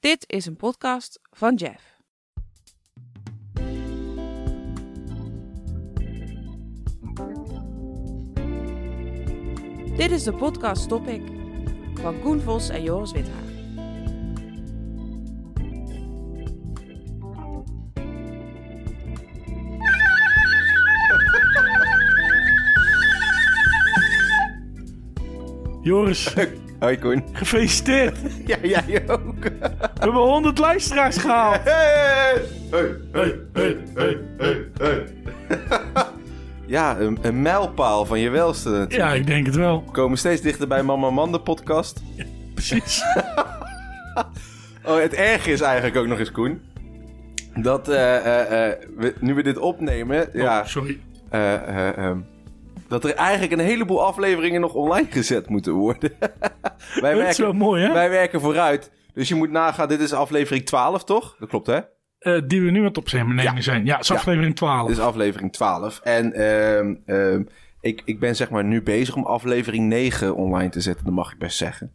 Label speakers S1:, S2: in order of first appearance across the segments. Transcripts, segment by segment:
S1: Dit is een podcast van Jeff. Dit is de podcast Topic van Koen Vos en Joris Withaar.
S2: Joris,
S3: Hoi Koen.
S2: gefeliciteerd.
S3: Ja, jij ook.
S2: We hebben 100 luisteraars gehaald.
S3: Hey, hey, hey, hey, hey, hey. Ja, een, een mijlpaal van je welste. natuurlijk.
S2: Ja, ik denk het wel.
S3: We komen steeds dichter bij Mama Man, de podcast.
S2: Precies.
S3: Oh, het erg is eigenlijk ook nog eens, Koen. Dat eh, eh, eh, we, nu we dit opnemen, ja,
S2: Oh, sorry.
S3: eh, eh, ehm, dat er eigenlijk een heleboel afleveringen nog online gezet moeten worden. wij,
S2: Dat is wel
S3: werken,
S2: mooi, hè?
S3: wij werken vooruit. Dus je moet nagaan, dit is aflevering 12, toch? Dat klopt, hè?
S2: Eh, die we nu aan het opnemen
S3: Ja.
S2: zijn. Ja, het is
S3: Ja. Dus-
S2: aflevering 12.
S3: Dit is aflevering 12. En ehm, ehm, ik, ik ben zeg maar nu bezig om aflevering 9 online te zetten. Dat mag ik best zeggen.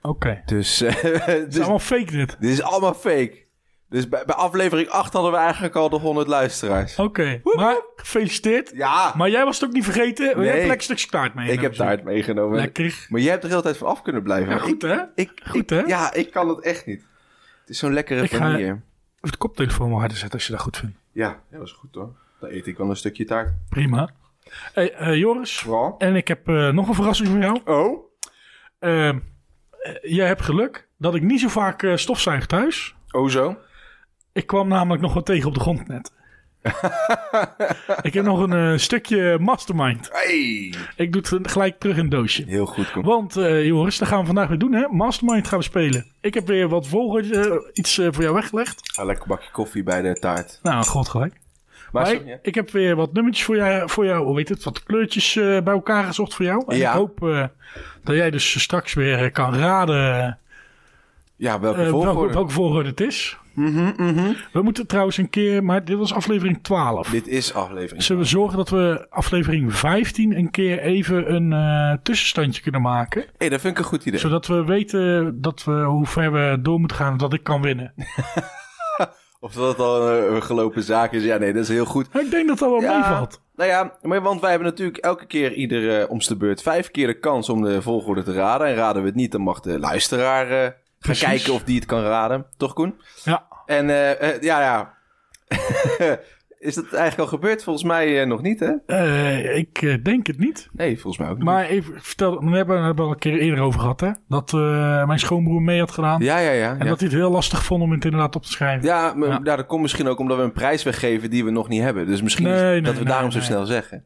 S2: Oké. Het
S3: Dus, eh,
S2: is
S3: dus
S2: allemaal fake dit.
S3: dit is allemaal fake. Dus bij, bij aflevering 8 hadden we eigenlijk al de 100 luisteraars.
S2: Oké, maar gefeliciteerd.
S3: Ja,
S2: Oh. Maar jij was het ook niet vergeten. Jij hebt
S3: Nee.
S2: een lekker stukje taart mee.
S3: ik heb taart meegenomen.
S2: Lekker.
S3: Maar jij hebt er de hele tijd van af kunnen blijven.
S2: Ja,
S3: Maar
S2: goed,
S3: ik,
S2: hè?
S3: ik,
S2: Goed,
S3: ik-
S2: hè?
S3: Ja, ik kan het echt niet. Het is zo'n lekkere
S2: Ik ga-
S3: vanille.
S2: Het koptelefoon maar harder zetten als je dat goed vindt.
S3: Ja. ja, dat is goed hoor. Dan eet ik wel een stukje taart.
S2: Prima. Hey, eh, Joris.
S3: Vooral.
S2: En ik heb eh, nog een verrassing voor jou.
S3: Oh?
S2: Ehm, eh, jij hebt geluk dat ik niet zo vaak eh stofzuig thuis.
S3: Oh zo?
S2: Ik kwam namelijk nog wat tegen op de grond net. ik heb nog een eh, stukje mastermind.
S3: Hey!
S2: Ik doe het gelijk terug in het doosje.
S3: Heel goed, kom.
S2: Want eh, Joris, dat gaan we vandaag weer doen hè. Mastermind gaan we spelen. Ik heb weer wat volgers, eh, iets eh, voor jou weggelegd.
S3: Ah, lekker bakje koffie bij de taart.
S2: Nou, god gelijk.
S3: Maar,
S2: Maar ik, ik heb weer wat nummertjes voor jou, voor jou hoe weet het, wat kleurtjes eh, bij elkaar gezocht voor jou. En
S3: Ja.
S2: ik hoop eh, dat jij dus straks weer eh, kan raden
S3: ja, welke
S2: eh, welke,
S3: volgorde?
S2: welke volgorde het is. We moeten trouwens een keer, maar dit was aflevering 12.
S3: Dit is aflevering.
S2: Zullen we zorgen dat we aflevering 15 een keer even een eh, tussenstandje kunnen maken?
S3: hey, dat vind ik een goed idee.
S2: Zodat we weten dat we, hoe ver we door moeten gaan en dat ik kan winnen.
S3: Of dat het al eh, een, een gelopen zaak is. Ja, nee, dat is heel goed.
S2: ik denk dat dat wel
S3: Ja,
S2: meevalt.
S3: Nou ja, maar want wij hebben natuurlijk elke keer ieder eh omste beurt vijf keer de kans om de volgorde te raden. En raden we het niet, dan mag de luisteraar eh, gaan
S2: Precies.
S3: kijken of die het kan raden. Toch, Koen?
S2: Ja,
S3: En eh, eh, ja, ja. is dat eigenlijk al gebeurd? Volgens mij eh, nog niet, hè?
S2: eh, ik eh, denk het niet.
S3: Nee, volgens mij ook niet.
S2: Maar even, ik vertel, we hebben we hebben het al een keer eerder over gehad, hè? Dat eh, mijn schoonbroer mee had gedaan.
S3: Ja, ja, ja.
S2: En
S3: ja.
S2: dat hij het heel lastig vond om het inderdaad op te schrijven.
S3: Ja, maar
S2: Ja.
S3: ja, dat komt misschien ook omdat we een prijs weggeven die we nog niet hebben. Dus misschien is
S2: Nee, nee,
S3: dat we
S2: nee,
S3: daarom zo
S2: nee.
S3: snel zeggen.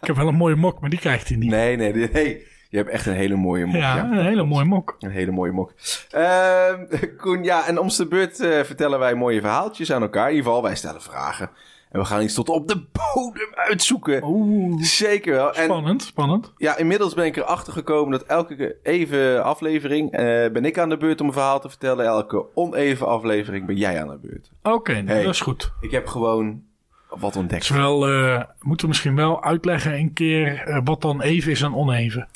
S2: Ik heb wel een mooie mok, maar die krijgt hij niet.
S3: Nee, nee, nee, nee. Je hebt echt een hele mooie mok.
S2: ja,
S3: Ja,
S2: een hele mooie mok.
S3: Een hele mooie mok. Ehm, Koen, ja, en om de beurt eh, vertellen wij mooie verhaaltjes aan elkaar. In ieder geval, wij stellen vragen. En we gaan iets tot op de bodem uitzoeken.
S2: Oeh,
S3: Zeker wel. En
S2: Oh, spannend, spannend.
S3: ja, inmiddels ben ik erachter gekomen dat elke keer even aflevering eh, ben ik aan de beurt om een verhaal te vertellen. Elke oneven aflevering ben jij aan de beurt.
S2: Oké,
S3: Hey.
S2: dat is goed.
S3: Ik heb gewoon wat ontdekt.
S2: Het is wel, eh, moeten we misschien wel uitleggen een keer eh, wat dan even is en oneven.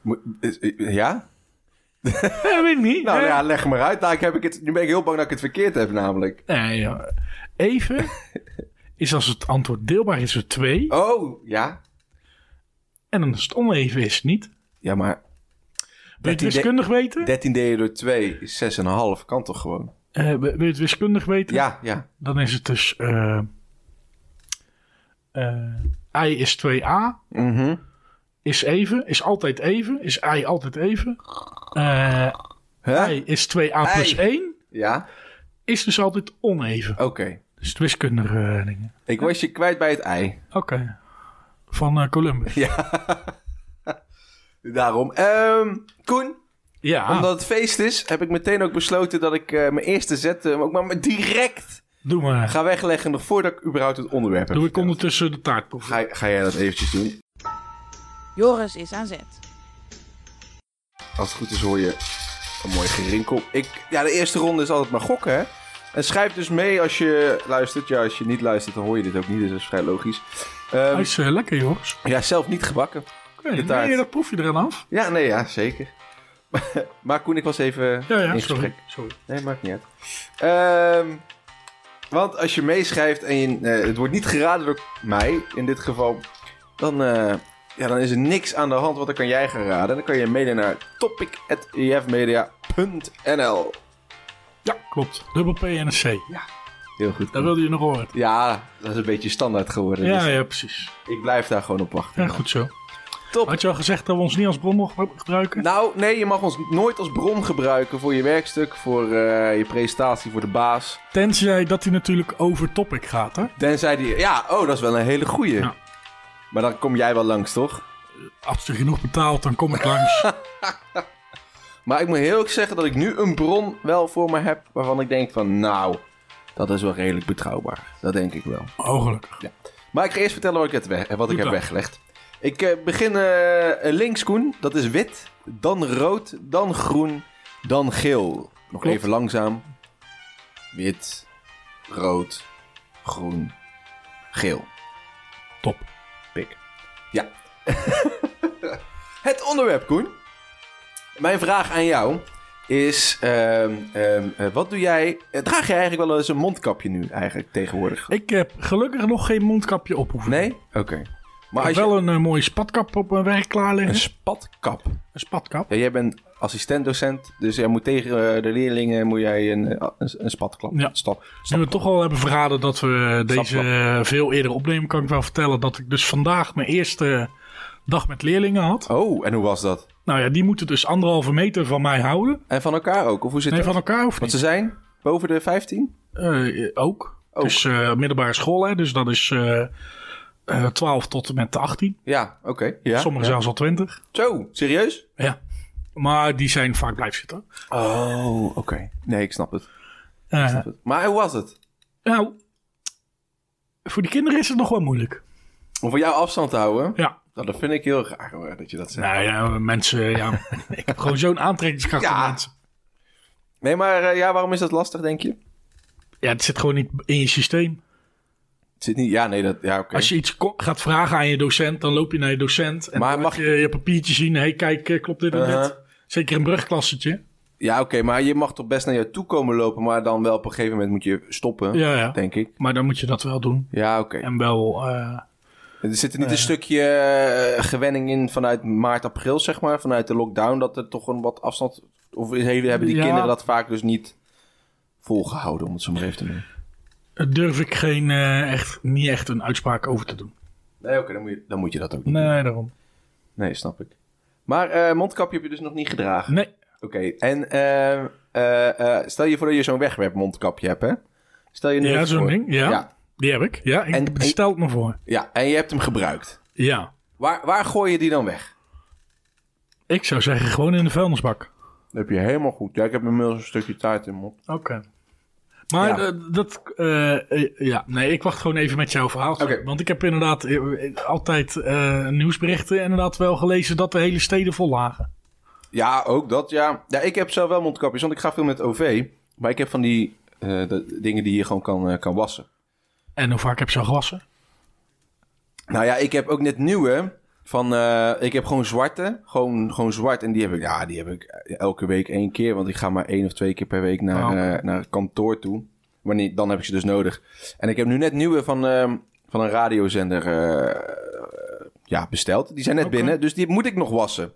S3: Mo- is- eh, Ja?
S2: Ja, weet ik niet.
S3: Nou
S2: Eh,
S3: ja, leg maar uit. Nou, ik heb ik het, nu ben ik heel bang dat ik het verkeerd heb, namelijk.
S2: nee, ja. Even is als het antwoord deelbaar is er twee.
S3: Oh, ja.
S2: En dan is het oneven is het niet.
S3: Ja, maar
S2: Wil je het
S3: idee-
S2: wiskundig weten?
S3: 13 delen door 2 is 6,5. Kan toch gewoon?
S2: Eh, wil wil je het wiskundig weten?
S3: Ja, ja.
S2: Dan is het dus... eh, eh, i is 2a,
S3: Mhm.
S2: is even, is altijd even, is i altijd even. Eh,
S3: Hè?
S2: i is 2a plus
S3: I.
S2: 1,
S3: Ja,
S2: is dus altijd oneven.
S3: oké.
S2: Dus het wiskundige eh, dingen.
S3: Ik was je kwijt bij het ei.
S2: Oké. Van eh, Columbus.
S3: Daarom. Ehm, Koen,
S2: Ja,
S3: omdat het feest is, heb ik meteen ook besloten dat ik eh, mijn eerste zet eh, ook maar maar direct
S2: doe maar.
S3: ga wegleggen. Nog voordat ik überhaupt het onderwerp heb.
S2: doe ik
S3: verteld.
S2: ondertussen de taartproef.
S3: Ga, ga jij dat eventjes doen?
S1: Joris is aan zet.
S3: Als het goed is hoor je een mooi gerinkel. Ik, ja, de eerste ronde is altijd maar gokken, hè? En schrijf dus mee als je luistert. Ja, als je niet luistert, dan hoor je dit ook niet. Dus dat is vrij logisch. Ehm,
S2: Hij is eh, lekker, jongens.
S3: ja, zelf niet gebakken.
S2: Oké,
S3: taart.
S2: nee, dat proef je er aan af.
S3: Ja, nee, ja, zeker. Maar Koen, ik was even
S2: Ja, ja,
S3: in
S2: sorry.
S3: gesprek.
S2: sorry.
S3: Nee, maakt niet uit. Ehm, want als je meeschrijft en je, eh, het wordt niet geraden door mij, in dit geval, dan, eh, ja, dan is er niks aan de hand, want dan kan jij gaan raden. En dan kan je mailen naar topic.efmedia.nl.
S2: Ja, klopt. Dubbel P en een C.
S3: Heel goed.
S2: Dat wilde je nog horen.
S3: Ja, dat is een beetje standaard geworden.
S2: Ja,
S3: dus
S2: ja, precies.
S3: ik blijf daar gewoon op wachten.
S2: Ja, goed zo.
S3: Top.
S2: Had je al gezegd dat we ons niet als bron mogen gebruiken?
S3: Nou, nee, je mag ons nooit als bron gebruiken voor je werkstuk, voor eh, je presentatie, voor de baas.
S2: Tenzij dat hij natuurlijk over topic gaat, hè?
S3: Tenzij die... Ja, oh, dat is wel een hele goeie.
S2: Ja.
S3: Maar dan kom jij wel langs, toch?
S2: Als je genoeg betaalt, dan kom ik langs.
S3: Maar ik moet heel erg zeggen dat ik nu een bron wel voor me heb waarvan ik denk van nou, dat is wel redelijk betrouwbaar. Dat denk ik wel.
S2: Oh, gelukkig.
S3: Maar ik ga eerst vertellen wat ik, het weg- wat
S2: Doe
S3: ik heb
S2: dat.
S3: weggelegd. Ik eh, begin eh, links, Koen. Dat is wit, dan rood, dan groen, dan geel. Nog
S2: Klopt.
S3: even langzaam. Wit, rood, groen, geel.
S2: Top.
S3: Pik. Ja. het onderwerp, Koen. Mijn vraag aan jou is: ehm, ehm, eh, wat doe jij? eh, Draag je eigenlijk wel eens een mondkapje nu, eigenlijk tegenwoordig?
S2: Ik heb gelukkig nog geen mondkapje op hoeven.
S3: Nee? Oké. Maar
S2: Ik
S3: als
S2: heb
S3: je
S2: wel een eh, mooie spatkap op mijn werk klaar liggen.
S3: een spatkap.
S2: Een spatkap?
S3: Ja, jij bent assistent-docent, dus jij moet tegen eh, de leerlingen moet jij een, eh, een, een spatklap.
S2: Ja.
S3: Stap.
S2: Nu we toch al hebben verraden dat we deze
S3: Stap,
S2: eh, veel eerder opnemen, kan ik wel vertellen dat ik dus vandaag mijn eerste dag met leerlingen had.
S3: Oh, en hoe was dat?
S2: Nou ja, die moeten dus anderhalve meter van mij houden.
S3: En van elkaar ook? Of hoe zit
S2: Nee,
S3: dat?
S2: van elkaar of
S3: Want
S2: niet?
S3: ze zijn boven de 15?
S2: Eh, eh, ook.
S3: Ook.
S2: Dus eh, middelbare school, hè, dus dat is eh, eh, 12 tot en met 18.
S3: Ja, oké. Ja.
S2: Sommigen
S3: ja.
S2: zelfs al 20.
S3: Zo, serieus?
S2: Ja. Maar die zijn vaak blijven zitten.
S3: Oh, oké. Nee, ik snap het.
S2: Eh,
S3: snap het. Maar hoe was het?
S2: nou, voor die kinderen is het nog wel moeilijk.
S3: Om van jou afstand te houden?
S2: Ja.
S3: Nou, dat vind ik heel raar hoor, dat je dat zegt.
S2: Nou ja, mensen, ja. ik heb gewoon zo'n aantrekkingskracht
S3: Ja.
S2: op mensen.
S3: Nee, maar eh, ja, waarom is dat lastig, denk je?
S2: Ja, het zit gewoon niet in je systeem.
S3: Het zit niet... Ja, nee, dat... Ja, oké.
S2: Als je iets ko- gaat vragen aan je docent, dan loop je naar je docent. En
S3: Maar
S2: dan
S3: mag-
S2: mag je je papiertje zien. Hé, hey, kijk, eh, klopt dit en
S3: Uh-huh.
S2: dit? Zeker een brugklassetje.
S3: Ja, oké, maar je mag toch best naar jou toe komen lopen, maar dan wel op een gegeven moment moet je stoppen,
S2: Ja, ja.
S3: denk ik.
S2: Maar dan moet je dat wel doen.
S3: Ja, oké.
S2: En wel, eh,
S3: Er zit er niet een stukje eh, gewenning in vanuit maart, april, zeg maar, vanuit de lockdown, dat er toch een wat afstand... Of heeft- hebben die
S2: Ja.
S3: kinderen dat vaak dus niet volgehouden, om het zo maar even te noemen?
S2: eh, durf ik geen, eh, echt, niet echt een uitspraak over te doen.
S3: Nee, oké, dan, moet je- dan moet je dat ook niet doen.
S2: Nee, daarom.
S3: Nee, snap ik. Maar eh, mondkapje heb je dus nog niet gedragen?
S2: Nee,
S3: Oké, en eh, eh, eh, stel je voor dat je zo'n wegwerpmondkapje hebt, hè? Stel je nu
S2: Ja,
S3: even
S2: zo'n
S3: voor.
S2: ding, ja.
S3: ja.
S2: die heb ik. Ja, ik
S3: En-
S2: en, stel het me voor.
S3: ja, en je hebt hem gebruikt.
S2: Ja.
S3: Waar, waar gooi je die dan weg?
S2: Ik zou zeggen, gewoon in de vuilnisbak.
S3: Dat heb je helemaal goed. Ja, ik heb inmiddels een stukje taart in mijn mond.
S2: Oké. Maar
S3: Ja.
S2: eh, dat, eh, eh, ja, nee, ik wacht gewoon even met jouw verhaal.
S3: Oké.
S2: Want ik heb inderdaad eh, eh, altijd eh, nieuwsberichten inderdaad wel gelezen dat de hele steden vol lagen.
S3: Ja, ook dat, ja. Ja, ik heb zelf wel mondkapjes, want ik ga veel met OV. Maar ik heb van die eh, de, dingen die je gewoon kan, eh, kan wassen.
S2: En hoe vaak heb je al gewassen?
S3: Nou ja, ik heb ook net nieuwe. Van, eh, ik heb gewoon zwarte. Gewoon, gewoon zwart. En die heb ik, ja, die heb ik eh, elke week één keer. Want ik ga maar één of twee keer per week naar,
S2: Oh.
S3: eh, naar het kantoor toe. Wanneer, dan heb ik ze dus nodig. En ik heb nu net nieuwe van, ehm, van een radiozender eh, ja, besteld. Die zijn net
S2: Oké.
S3: binnen. Dus die moet ik nog wassen.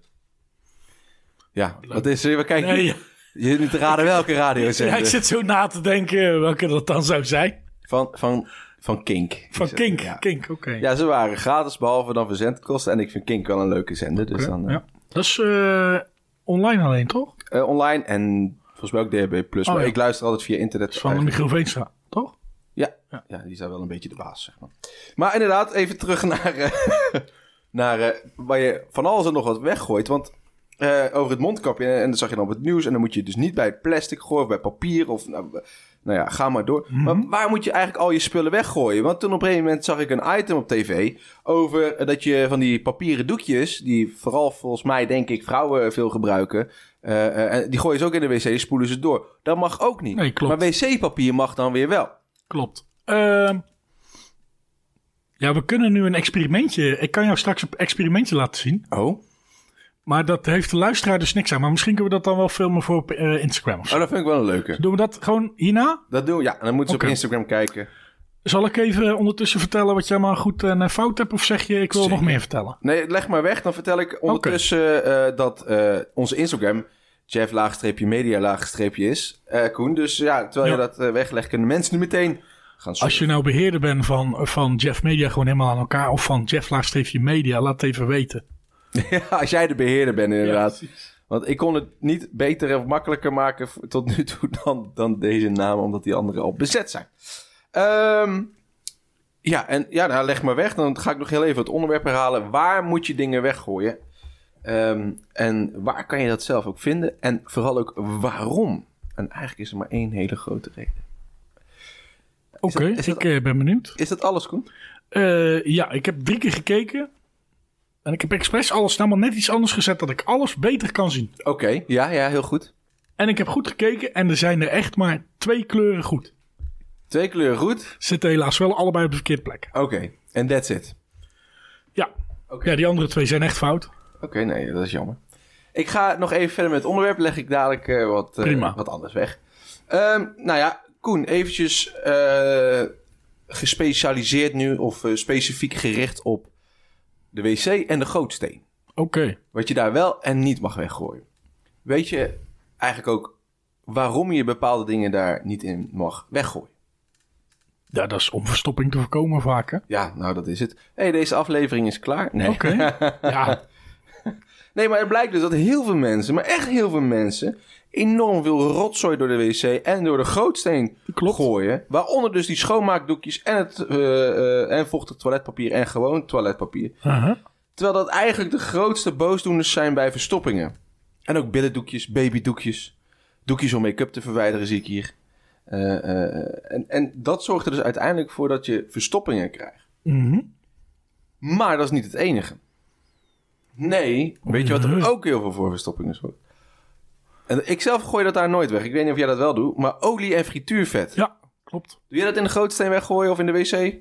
S3: Ja, wat is er? Kijk,
S2: Nee,
S3: je je zit niet te raden welke
S2: ja, ik
S3: radiozender.
S2: zit zo na te denken eh, welke dat dan zou zijn.
S3: Van, van, van Kink.
S2: Van
S3: Is het,
S2: Kink,
S3: ja.
S2: Kink, oké.
S3: Ja, ze waren gratis, behalve dan verzendkosten. En ik vind Kink wel een leuke zender. Dus
S2: Oké,
S3: dan eh,
S2: ja. Dat is eh, online alleen, toch?
S3: eh, online en volgens mij ook DHB+. Plus,
S2: Oh,
S3: maar
S2: ja.
S3: ik luister altijd via internet.
S2: Dat is van de
S3: eigenlijk.
S2: Michiel Veenstra, toch?
S3: ja, ja. die zijn wel een beetje de baas, zeg maar. Maar inderdaad, even terug naar, eh, naar eh, waar je van alles en nog wat weggooit. Want eh, over het mondkapje, en, en dat zag je dan op het nieuws. En dan moet je dus niet bij het plastic gooien of bij papier of... Nou, eh, nou ja, ga maar door.
S2: Mhm.
S3: Maar waar moet je eigenlijk al je spullen weggooien? Want toen op een gegeven moment zag ik een item op tv over eh, dat je van die papieren doekjes, die vooral volgens mij denk ik vrouwen veel gebruiken, eh, eh, en die gooien ze ook in de wc, spoelen ze door. Dat mag ook niet.
S2: Nee, klopt.
S3: Maar wc-papier mag dan weer wel.
S2: Klopt. Ehm, ja, we kunnen nu een experimentje. Ik kan jou straks een experimentje laten zien.
S3: Oh?
S2: Maar dat heeft de luisteraar dus niks aan. Maar misschien kunnen we dat dan wel filmen voor op eh, Instagram of zo.
S3: Oh, dat vind ik wel een leuke.
S2: Doen we dat gewoon hierna?
S3: Dat doen we, ja. En dan moeten ze
S2: Oké.
S3: op Instagram kijken.
S2: Zal ik even ondertussen vertellen wat jij maar goed en eh, fout hebt? Of zeg je, ik wil
S3: Zeker.
S2: nog meer vertellen?
S3: Nee, leg maar weg. Dan vertel ik ondertussen eh, dat eh, onze Instagram Jeff-media-laagstreepje is. Eh, Koen, dus ja, terwijl je
S2: Ja.
S3: dat eh, weglegt, kunnen mensen nu meteen gaan zoeken.
S2: Als je nou beheerder bent van, van Jeff Media gewoon helemaal aan elkaar... of van Jeff Laagstreefje Media, laat het even weten.
S3: Ja, als jij de beheerder bent inderdaad. Want ik kon het niet beter of makkelijker maken v- tot nu toe dan, dan deze namen, omdat die anderen al bezet zijn. Ehm, ja, en ja, nou, leg maar weg. Dan ga ik nog heel even het onderwerp herhalen. Waar moet je dingen weggooien? Ehm, en waar kan je dat zelf ook vinden? En vooral ook waarom? En eigenlijk is er maar één hele grote reden.
S2: Oké,
S3: is dat-
S2: ik eh, ben benieuwd.
S3: Is dat alles, Koen?
S2: Eh, ja, ik heb drie keer gekeken. En ik heb expres alles namelijk net iets anders gezet... dat ik alles beter kan zien.
S3: Oké, ja, ja, heel goed.
S2: En ik heb goed gekeken en er zijn er echt maar twee kleuren goed.
S3: Twee kleuren goed.
S2: Zitten helaas wel allebei op de verkeerde plek.
S3: Oké, en that's it.
S2: Ja.
S3: Oké.
S2: ja, die andere twee zijn echt fout.
S3: Oké, nee, dat is jammer. Ik ga nog even verder met het onderwerp. Leg ik dadelijk eh, wat, eh,
S2: Prima.
S3: wat anders weg. Ehm, nou ja, Koen, eventjes eh, gespecialiseerd nu of eh, specifiek gericht op de wc en de gootsteen.
S2: Oké.
S3: Wat je daar wel en niet mag weggooien. Weet je eigenlijk ook waarom je bepaalde dingen daar niet in mag weggooien?
S2: Ja, dat is om verstopping te voorkomen vaak, hè?
S3: Ja, nou dat is het. Hé, hey, deze aflevering is klaar. Nee.
S2: Oké. ja.
S3: Nee, maar het blijkt dus dat heel veel mensen, maar echt heel veel mensen, enorm veel rotzooi door de wc en door de gootsteen
S2: Klopt.
S3: gooien. Waaronder dus die schoonmaakdoekjes en, het, eh, eh, en vochtig toiletpapier en gewoon toiletpapier.
S2: Aha.
S3: Terwijl dat eigenlijk de grootste boosdoeners zijn bij verstoppingen. En ook billendoekjes, babydoekjes, doekjes om make-up te verwijderen zie ik hier. Eh, eh, en, en dat zorgt er dus uiteindelijk voor dat je verstoppingen krijgt.
S2: Mhm.
S3: Maar dat is niet het enige. Nee, weet je wat
S2: Nee.
S3: er ook heel veel voor verstoppingen zorgt? En ik zelf gooi dat daar nooit weg. Ik weet niet of jij dat wel doet, maar olie en frituurvet.
S2: Ja, klopt.
S3: Doe jij dat in de gootsteen weggooien of in de wc?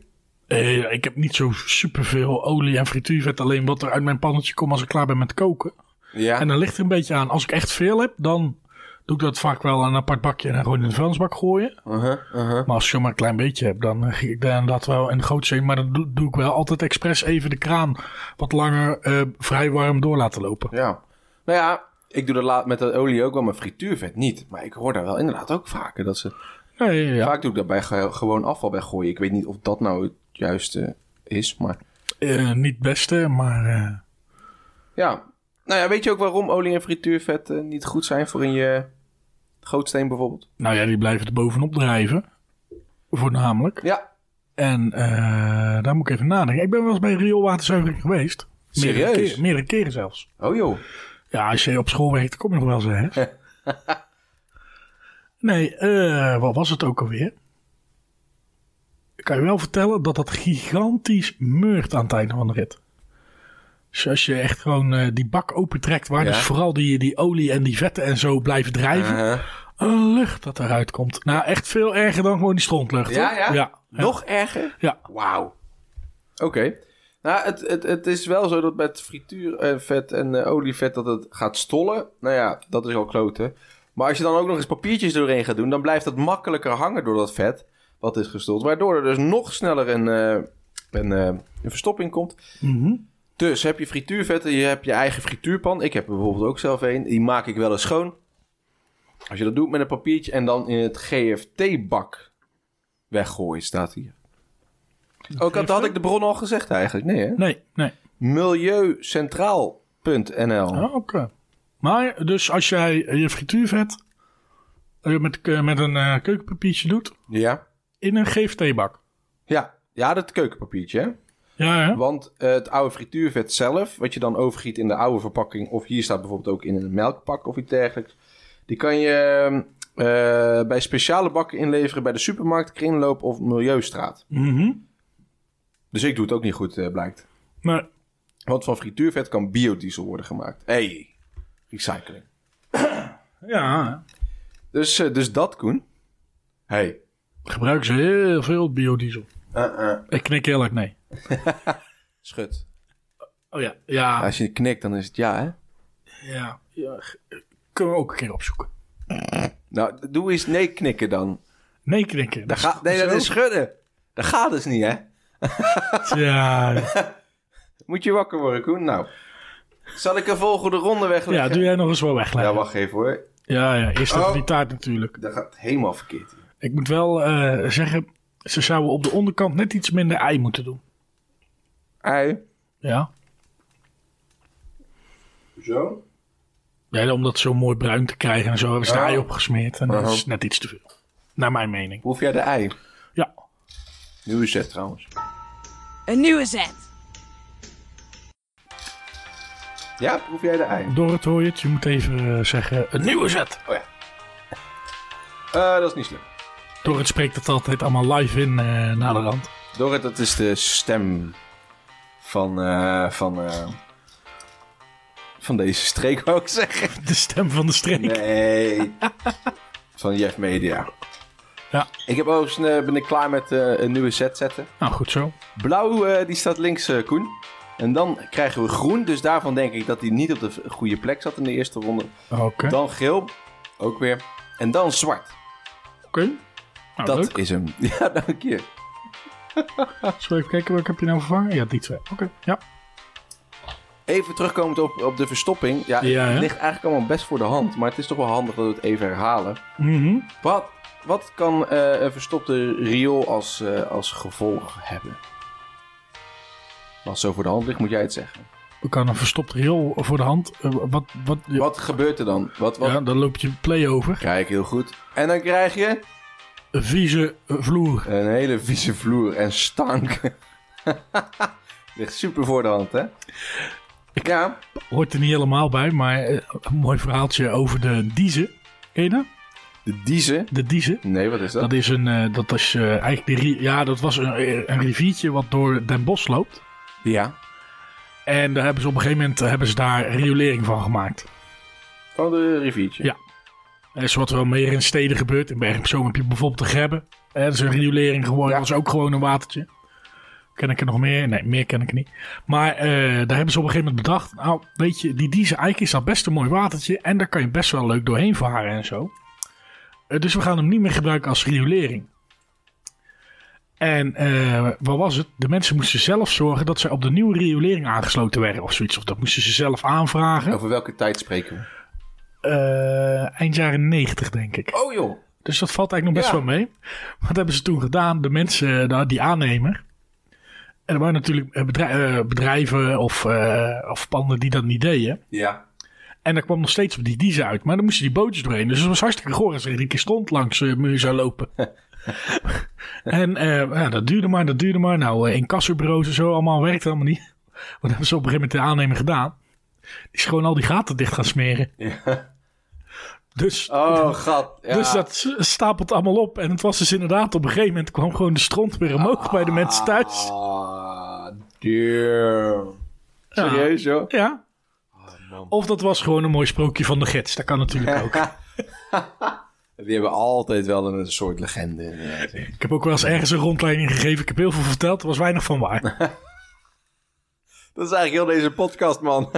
S2: Eh, ik heb niet zo superveel olie en frituurvet. Alleen wat er uit mijn pannetje komt als ik klaar ben met koken.
S3: Ja.
S2: En dan ligt er een beetje aan. Als ik echt veel heb, dan doe ik dat vaak wel aan een apart bakje en dan gewoon in de vuilnisbak gooien.
S3: Uh-huh, uh-huh.
S2: Maar als ik zomaar een klein beetje heb, dan eh, ging ik daar inderdaad wel in de gootsteen. Maar dan doe, doe ik wel altijd expres even de kraan wat langer eh, vrij warm door laten lopen.
S3: Ja. Nou ja, ik doe dat laat met de olie ook wel, maar frituurvet niet. Maar ik hoor daar wel inderdaad ook vaker dat ze...
S2: Ja, ja, ja.
S3: Vaak doe ik dat bij ge- gewoon afval weggooien. Ik weet niet of dat nou het juiste is, maar...
S2: Eh, niet het beste, maar eh,
S3: Ja. Nou ja, weet je ook waarom olie en frituurvet eh, niet goed zijn voor in je gootsteen bijvoorbeeld?
S2: nou ja, die blijven er bovenop drijven. Voornamelijk.
S3: Ja.
S2: En eh, daar moet ik even nadenken. Ik ben wel eens bij rioolwaterzuivering geweest. Meerdere
S3: Serieus?
S2: keren- meerdere keren zelfs.
S3: Oh joh.
S2: Ja, als je op school werkt, kom je nog wel eens. Hè? nee, eh, wat was het ook alweer? Ik kan je wel vertellen dat dat gigantisch meurt aan het einde van de rit. Dus als je echt gewoon eh, die bak opentrekt, waar
S3: Ja. Ah.
S2: dus vooral die, die olie en die vetten en zo blijven drijven. Een lucht dat eruit komt. Nou, echt veel erger dan gewoon die strontlucht.
S3: Ja,
S2: hoor.
S3: ja?
S2: ja.
S3: Nog erger?
S2: Ja.
S3: Wauw. Oké. Nou, het, het, het is wel zo dat met frituurvet en eh, olievet dat het gaat stollen. Nou ja, dat is al kloten. Maar als je dan ook nog eens papiertjes doorheen gaat doen, dan blijft dat makkelijker hangen door dat vet wat is gestold. Waardoor er dus nog sneller een, eh, een, eh, een verstopping komt.
S2: Mhm.
S3: Dus heb je frituurvet en je hebt je eigen frituurpan. Ik heb er bijvoorbeeld ook zelf een. Die maak ik wel eens schoon. Als je dat doet met een papiertje en dan in het GFT-bak weggooien, staat hier. Ook dat had ik de bron al gezegd eigenlijk. Nee, hè?
S2: Nee, nee.
S3: Milieucentraal.nl.
S2: Ah, Oké. Maar dus als jij je frituurvet eh, met, eh, met een eh, keukenpapiertje doet
S3: Ja.
S2: in een GFT-bak.
S3: ja. Ja, dat keukenpapiertje. Hè?
S2: Ja, ja.
S3: Want eh, het oude frituurvet zelf, wat je dan overgiet in de oude verpakking, of hier staat bijvoorbeeld ook in een melkpak of iets dergelijks, die kan je eh, bij speciale bakken inleveren bij de supermarkt, kringloop of milieustraat.
S2: Mhm.
S3: Dus ik doe het ook niet goed, eh, blijkt.
S2: Maar
S3: Want van frituurvet kan biodiesel worden gemaakt. hey, recycling.
S2: ja,
S3: Dus, eh, dus dat, Koen. hey.
S2: gebruiken ze heel veel biodiesel.
S3: Uh, uh.
S2: Ik knik heel erg nee.
S3: Schud.
S2: Oh ja, ja,
S3: Ah. Als je knikt, dan is het ja, hè?
S2: Ja. ja, g- Kunnen we ook een keer opzoeken.
S3: Nou, doe eens nee knikken dan.
S2: Nee knikken.
S3: Daar ga, nee, dat
S2: Zo.
S3: is schudden. Dat gaat dus niet, hè?
S2: Ja,
S3: Moet je wakker worden, Koen? Nou. Zal ik een volgende ronde wegleggen?
S2: ja, doe jij nog eens wel
S3: Ja,
S2: wegleggen.
S3: wacht even hoor.
S2: Ja, ja, eerst even
S3: Oh.
S2: die taart natuurlijk.
S3: Dat gaat helemaal verkeerd.
S2: Ik moet wel eh, zeggen, ze zouden op de onderkant net iets minder ei moeten doen.
S3: Ei.
S2: Ja,
S3: Zo?
S2: ja om dat zo mooi bruin te krijgen en zo hebben ze de
S3: Ja.
S2: ei opgesmeerd. En dat
S3: Uh-huh.
S2: is net iets te veel, naar mijn mening.
S3: Proef jij de ei?
S2: Ja,
S3: Nieuwe zet trouwens.
S1: Een nieuwe zet.
S3: Ja, proef jij de ei?
S2: Dorrit hoor je het. Je moet even eh, zeggen, een nieuwe zet.
S3: Oh ja. Eh, dat is niet slim.
S2: Dorrit spreekt het altijd allemaal live in eh na de rand.
S3: Dorrit, dat is de stem van, eh, van, eh, van deze streek, wou ik zeggen.
S2: De stem van de streek.
S3: Nee. van Jeff Media.
S2: Ja.
S3: Ik heb overigens, eh, ben ik klaar met eh, een nieuwe set zetten.
S2: Nou, goed zo.
S3: Blauw, eh, die staat links, eh, Koen. En dan krijgen we groen, dus daarvan denk ik dat hij niet op de v- goede plek zat in de eerste ronde.
S2: Oké.
S3: Dan geel, ook weer. En dan zwart.
S2: Oké. Nou,
S3: dat
S2: leuk.
S3: is hem. Ja, dank je.
S2: Zullen we even kijken, welke heb je nou vervangen? Ja, die twee. Oké, ja.
S3: Even terugkomend op, op de verstopping. Ja,
S2: Ja, hè?
S3: het ligt eigenlijk allemaal best voor de hand, maar het is toch wel handig dat we het even herhalen.
S2: Mhm.
S3: Wat, wat kan eh, een verstopte riool als, eh, als gevolg hebben? Als het zo voor de hand ligt, moet jij het zeggen.
S2: We kan een verstopt riool voor de hand. Eh, wat, wat, ja,
S3: Wat gebeurt er dan? Wat, wat...
S2: Ja, dan loop je play over.
S3: Kijk, heel goed. En dan krijg je
S2: Een vieze eh, vloer.
S3: een hele vieze vloer en stank. ligt super voor de hand, hè? Ja,
S2: Hoort er niet helemaal bij, maar eh, een mooi verhaaltje over de diezen. Ken je dat?
S3: de diezen.
S2: De diezen.
S3: Nee, wat is dat?
S2: Dat is een, eh, dat is eh, eigenlijk de ri- ja, dat was een, eh, een riviertje wat door Den Bosch loopt.
S3: Ja.
S2: En daar hebben ze op een gegeven moment eh, hebben ze daar riolering van gemaakt.
S3: Van de riviertje.
S2: Ja. Dat is wat wel meer in steden gebeurt. In Bergen op Zoom heb je bijvoorbeeld de Grebbe. Eh, dat is een riolering geworden.
S3: Ja.
S2: Dat is ook gewoon een watertje. Ken ik er nog meer? Nee, meer ken ik niet. Maar eh, daar hebben ze op een gegeven moment bedacht. Nou, weet je, die Dieze Eik is dat best een mooi watertje. En daar kan je best wel leuk doorheen varen en zo. Eh, dus we gaan hem niet meer gebruiken als riolering. En eh, wat was het? De mensen moesten zelf zorgen dat ze op de nieuwe riolering aangesloten werden of zoiets. Of dat moesten ze zelf aanvragen.
S3: Over welke tijd spreken we?
S2: Eh, eind jaren 90, denk ik.
S3: Oh joh.
S2: Dus dat valt eigenlijk nog best
S3: Ja.
S2: wel mee. Wat hebben ze toen gedaan? De mensen, eh, nou, die aannemer. En er waren natuurlijk eh, bedrij- eh, bedrijven of, eh, of panden die dat niet deden.
S3: Ja.
S2: En daar kwam nog steeds op die diezen uit. Maar dan moesten die bootjes doorheen. Dus het was hartstikke goor als er een keer stond langs eh, muur zou lopen. en eh, ja, dat duurde maar, dat duurde maar. Nou, eh, incassobureaus en zo, allemaal werkte allemaal niet. Wat hebben ze op een gegeven moment de aannemer gedaan? Die is gewoon al die gaten dicht gaan smeren. Dus
S3: Oh, god. Ja.
S2: dus dat s- stapelt allemaal op. En het was dus inderdaad op een gegeven moment kwam gewoon de stront weer omhoog bij de mensen thuis.
S3: Ah, damn.
S2: Ja.
S3: Serieus, joh?
S2: Ja.
S3: man.
S2: Of dat was gewoon een mooi sprookje van de gids. Dat kan natuurlijk ook.
S3: Die hebben altijd wel een soort legende. eh, inderdaad.
S2: Ik heb ook wel eens ergens een rondleiding gegeven. Ik heb heel veel verteld. Er was weinig van waar.
S3: Dat is eigenlijk heel deze podcast, man.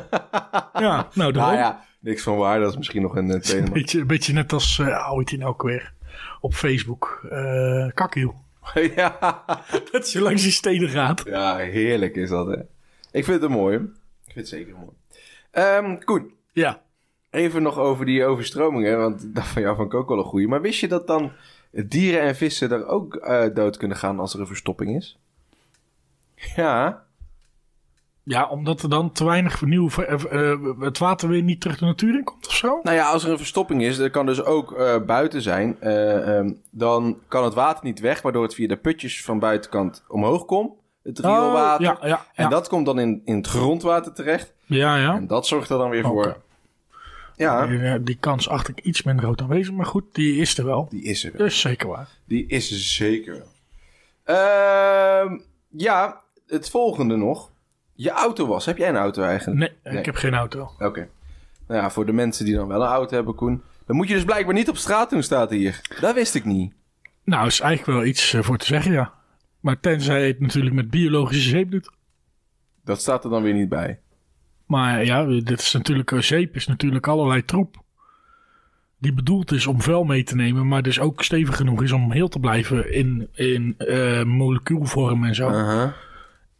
S2: Ja, nou daarom.
S3: Nou ja, niks van waar. Dat is misschien nog een eh, tweede
S2: Een
S3: man.
S2: beetje, een beetje net als, eh hoe heet die nou ook weer? Op Facebook. Eh kakkiel.
S3: ja.
S2: Dat je langs die steden gaat.
S3: ja, heerlijk is dat, hè. Ik vind het mooi. Ik vind het zeker mooi. Ehm Koen,
S2: Ja.
S3: even nog over die overstromingen. Want dat van jou vond ik ook wel een goeie. Maar wist je dat dan dieren en vissen er ook eh, dood kunnen gaan als er een verstopping is? Ja.
S2: Ja, omdat er dan te weinig nieuw, eh, eh, het water weer niet terug de natuur in komt of zo.
S3: Nou ja, als er een verstopping is, dat kan dus ook eh, buiten zijn. eh, ehm, dan kan het water niet weg, waardoor het via de putjes van buitenkant omhoog komt. Het rioolwater.
S2: ja, ja,
S3: En
S2: ja.
S3: dat komt dan in, in het grondwater terecht.
S2: ja, ja.
S3: En dat zorgt er dan weer voor.
S2: Oké.
S3: Ja,
S2: Die, eh, die kans acht ik iets minder groot aanwezig, maar goed, die is er wel.
S3: die is er wel.
S2: Dat is zeker waar.
S3: Die is er zeker wel. Ehm, ja, het volgende nog. Je auto was. Heb jij een auto eigenlijk?
S2: Nee, ik heb geen auto.
S3: Oké. Nou ja, voor de mensen die dan wel een auto hebben, Koen. Dan moet je dus blijkbaar niet op straat doen, staat hier. Dat wist ik niet.
S2: Nou, is eigenlijk wel iets eh, voor te zeggen, ja. Maar tenzij het natuurlijk met biologische zeep doet.
S3: Dat staat er dan weer niet bij.
S2: Maar ja, dit is natuurlijk, eh, zeep is natuurlijk allerlei troep. Die bedoeld is om vuil mee te nemen, maar dus ook stevig genoeg is om heel te blijven in, in eh, molecuulvorm en zo.
S3: Aha.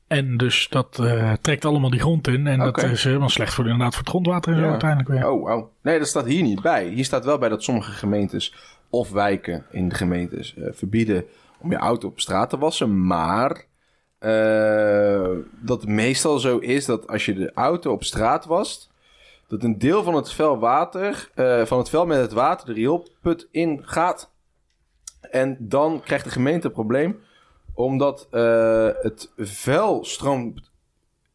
S2: En dus dat eh, trekt allemaal die grond in. En
S3: Oké.
S2: dat is helemaal slecht voor, inderdaad, voor het grondwater en zo
S3: Ja.
S2: uiteindelijk weer.
S3: Oh, wauw. Nee, dat staat hier niet bij. Hier staat wel bij dat sommige gemeentes of wijken in de gemeentes eh, verbieden om je auto op straat te wassen. Maar eh, dat het meestal zo is dat als je de auto op straat wast, dat een deel van het vuil water, eh, van het vuil met het water de rioolput in gaat. En dan krijgt de gemeente een probleem, omdat eh, het vuil stroomt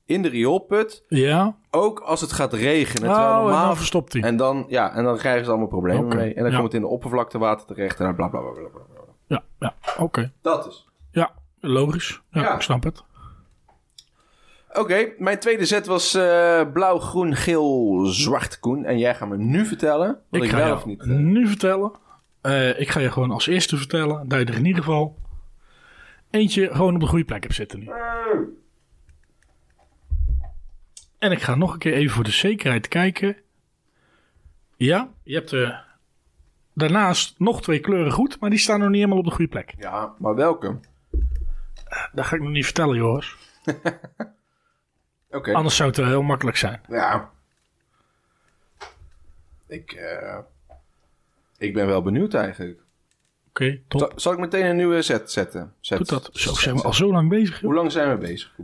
S3: in de rioolput.
S2: Ja?
S3: Ook als het gaat regenen.
S2: Oh,
S3: Terwijl
S2: en
S3: normaal
S2: dan verstopt hij.
S3: en dan, ja, en dan krijgen ze allemaal problemen
S2: Oké,
S3: mee. En dan
S2: ja.
S3: komt het in de oppervlaktewater terecht en dan bla bla bla bla. bla, bla.
S2: Ja, ja. oké.
S3: Dat dus. is.
S2: Ja, logisch. Ja,
S3: Ja.
S2: ik snap het.
S3: Oké, mijn tweede set was eh, blauw, groen, geel, zwart, koen. En jij gaat me nu vertellen wat ik,
S2: ga
S3: wel
S2: jou
S3: of niet... eh,
S2: nu vertellen. Eh, ik ga je gewoon als eerste vertellen dat je er in ieder geval eentje gewoon op de goede plek hebt zitten nu. En ik ga nog een keer even voor de zekerheid kijken. Ja, je hebt eh, daarnaast nog twee kleuren goed, maar die staan nog niet helemaal op de goede plek.
S3: Ja, maar welke? Oké.
S2: Dat ga ik nog niet vertellen, Joris. Anders zou het wel heel makkelijk zijn.
S3: Ja. Ik, eh, ik ben wel benieuwd eigenlijk.
S2: Oké, top.
S3: Zal, zal ik meteen een nieuwe set zetten? Set,
S2: Doet dat. Zo
S3: set,
S2: zijn we
S3: set.
S2: al zo lang bezig. joh.
S3: Hoe lang zijn we bezig?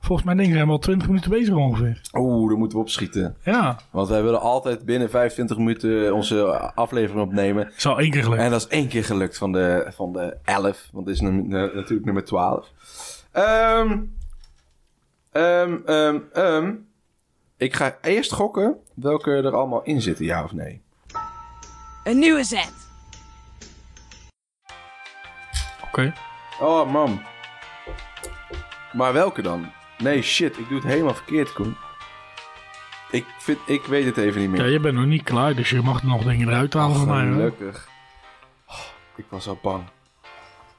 S2: Volgens mij denk ik zijn we al 20 minuten bezig ongeveer.
S3: Oeh, daar moeten we opschieten.
S2: Ja,
S3: Want wij willen altijd binnen 25 minuten onze aflevering opnemen.
S2: is al één keer gelukt.
S3: En dat is één keer gelukt van de, van de 11. Want dit is nu- nu- natuurlijk nummer 12. Ehm, ehm, ehm, ehm. Ik ga eerst gokken welke er allemaal in zitten, ja of nee.
S1: Een nieuwe zet.
S2: Oké.
S3: Oh, man. Maar welke dan? Nee, shit, ik doe het helemaal verkeerd, Koen. Ik, vind, ik weet het even niet meer.
S2: Ja, je bent nog niet klaar, dus je mag nog dingen eruit halen van mij. hoor.
S3: Gelukkig. Oh, ik was al bang.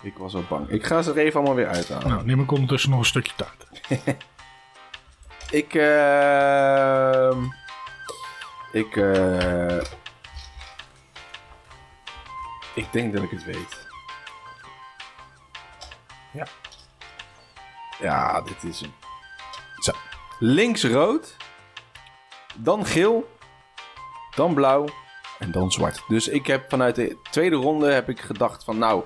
S3: Ik was al bang. Ik ga ze er even allemaal weer uithalen.
S2: Nou, neem ik ondertussen nog een stukje taart.
S3: Ik, ehm ik, eh, ik denk dat ik het weet. Ja. Ja, dit is hem. Zo. Links rood, dan geel, dan blauw en dan zwart. Dus ik heb vanuit de tweede ronde heb ik gedacht van nou,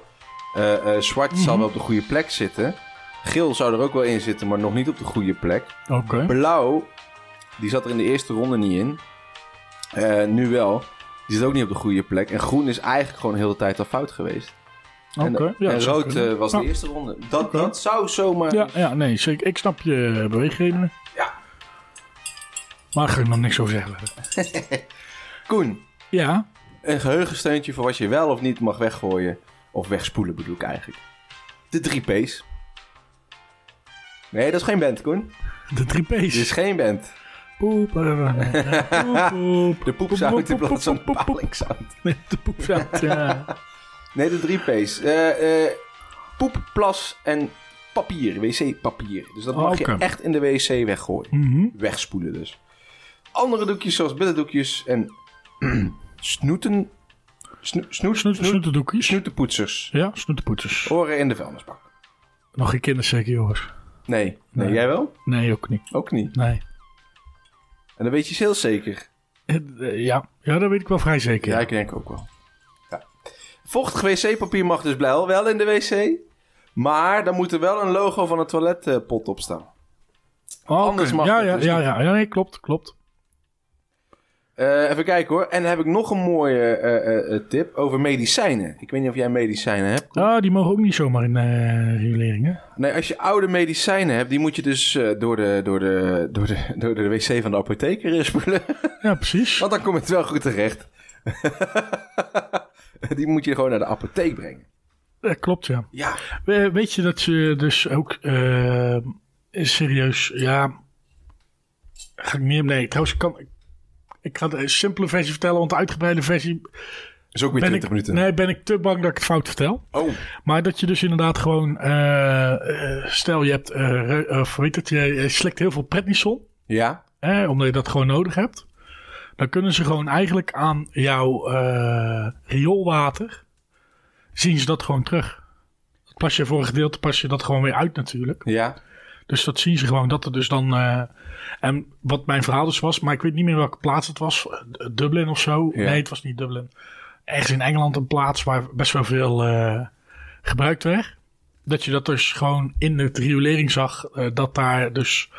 S3: eh, eh, zwart zal wel op de goede plek zitten. Geel zou er ook wel in zitten, maar nog niet op de goede plek.
S2: Oké.
S3: Blauw, die zat er in de eerste ronde niet in. Eh, nu wel. Die zit ook niet op de goede plek. En groen is eigenlijk gewoon heel de tijd al fout geweest.
S2: Oké.
S3: en
S2: Ja,
S3: en
S2: dat zou
S3: rood
S2: kunnen.
S3: eh, was
S2: Ja.
S3: de eerste ronde. Dat, dat zou zomaar...
S2: Ja, ja, nee, zeker. Ik snap je eh, beweegredenen.
S3: Ja.
S2: Maar daar ga ik nog niks over zeggen. verder.
S3: Koen,
S2: Ja.
S3: een geheugensteuntje voor wat je wel of niet mag weggooien. Of wegspoelen bedoel ik eigenlijk. De drie P's. Nee, dat is geen band, Koen.
S2: De drie P's.
S3: Dit is geen band.
S2: Poep. eh, poep, poep.
S3: De poepsound
S2: Poep,
S3: in
S2: poep,
S3: plaats van de
S2: poep, poep, poep.
S3: palingsound.
S2: Nee, de poepzout. Ja.
S3: Nee, de drie P's. Eh, eh, poep, plas en papier. Wc-papier. Dus dat
S2: Oh,
S3: mag
S2: oké.
S3: je echt in de wc weggooien.
S2: Mhm.
S3: Wegspoelen dus. Andere doekjes zoals billendoekjes en snoeten... Sno, snoet,
S2: Snoet,
S3: snoet- Oh.
S2: snoetendoekjes.
S3: snoetenpoetsers.
S2: Ja, snoetenpoeters.
S3: Oren in de vuilnisbak.
S2: Nog geen kinderen zeker, Joris.
S3: Nee. nee.
S2: Nee.
S3: jij wel?
S2: Nee, ook niet.
S3: Ook niet.
S2: Nee.
S3: En dan weet je ze heel zeker.
S2: Eh, eh, Ja, ja dat weet ik wel vrij zeker.
S3: Ja, ik denk ook wel. Ja. Vochtig wc-papier mag dus wel, wel in de wc. Maar dan moet er wel een logo van een toiletpot op staan.
S2: Oh, Oké.
S3: anders mag
S2: ja,
S3: het
S2: ja,
S3: dus
S2: ja, ja, ja, nee, klopt, klopt.
S3: Eh, even kijken hoor. En dan heb ik nog een mooie eh, eh, eh, tip over medicijnen. Ik weet niet of jij medicijnen hebt.
S2: Ah, die mogen ook niet zomaar in eh regulering, hè?
S3: Nee, als je oude medicijnen hebt, die moet je dus eh, door, de, door, de, door, de, door de wc van de apotheker in spoelen.
S2: Ja, precies.
S3: Want dan komt het wel goed terecht. die moet je gewoon naar de apotheek brengen.
S2: Eh, klopt, ja.
S3: Ja.
S2: We- Weet je dat je dus ook eh, serieus, ja. Ga ik niet, nee, trouwens, ik kan. Ik ga de simpele versie vertellen, want de uitgebreide versie.
S3: Is ook weer
S2: Ben
S3: 20
S2: ik,
S3: minuten.
S2: Nee, ben ik te bang dat ik het fout vertel.
S3: Oh,
S2: Maar dat je dus inderdaad gewoon. eh, eh, stel, je hebt. eh, re- of weet het, je, je slikt heel veel prednison.
S3: ja.
S2: eh, omdat je dat gewoon nodig hebt, dan kunnen ze gewoon eigenlijk aan jouw eh, rioolwater, zien ze dat gewoon terug. Dat Pas je voor een gedeelte, pas je dat gewoon weer uit natuurlijk.
S3: Ja.
S2: Dus dat zien ze gewoon, dat er dus dan... eh, en wat mijn verhaal dus was, maar ik weet niet meer welke plaats het was. eh, Dublin of zo?
S3: Ja.
S2: Nee, het was niet Dublin. Ergens in Engeland een plaats waar best wel veel eh, gebruikt werd. Dat je dat dus gewoon in de riolering zag, eh, dat daar dus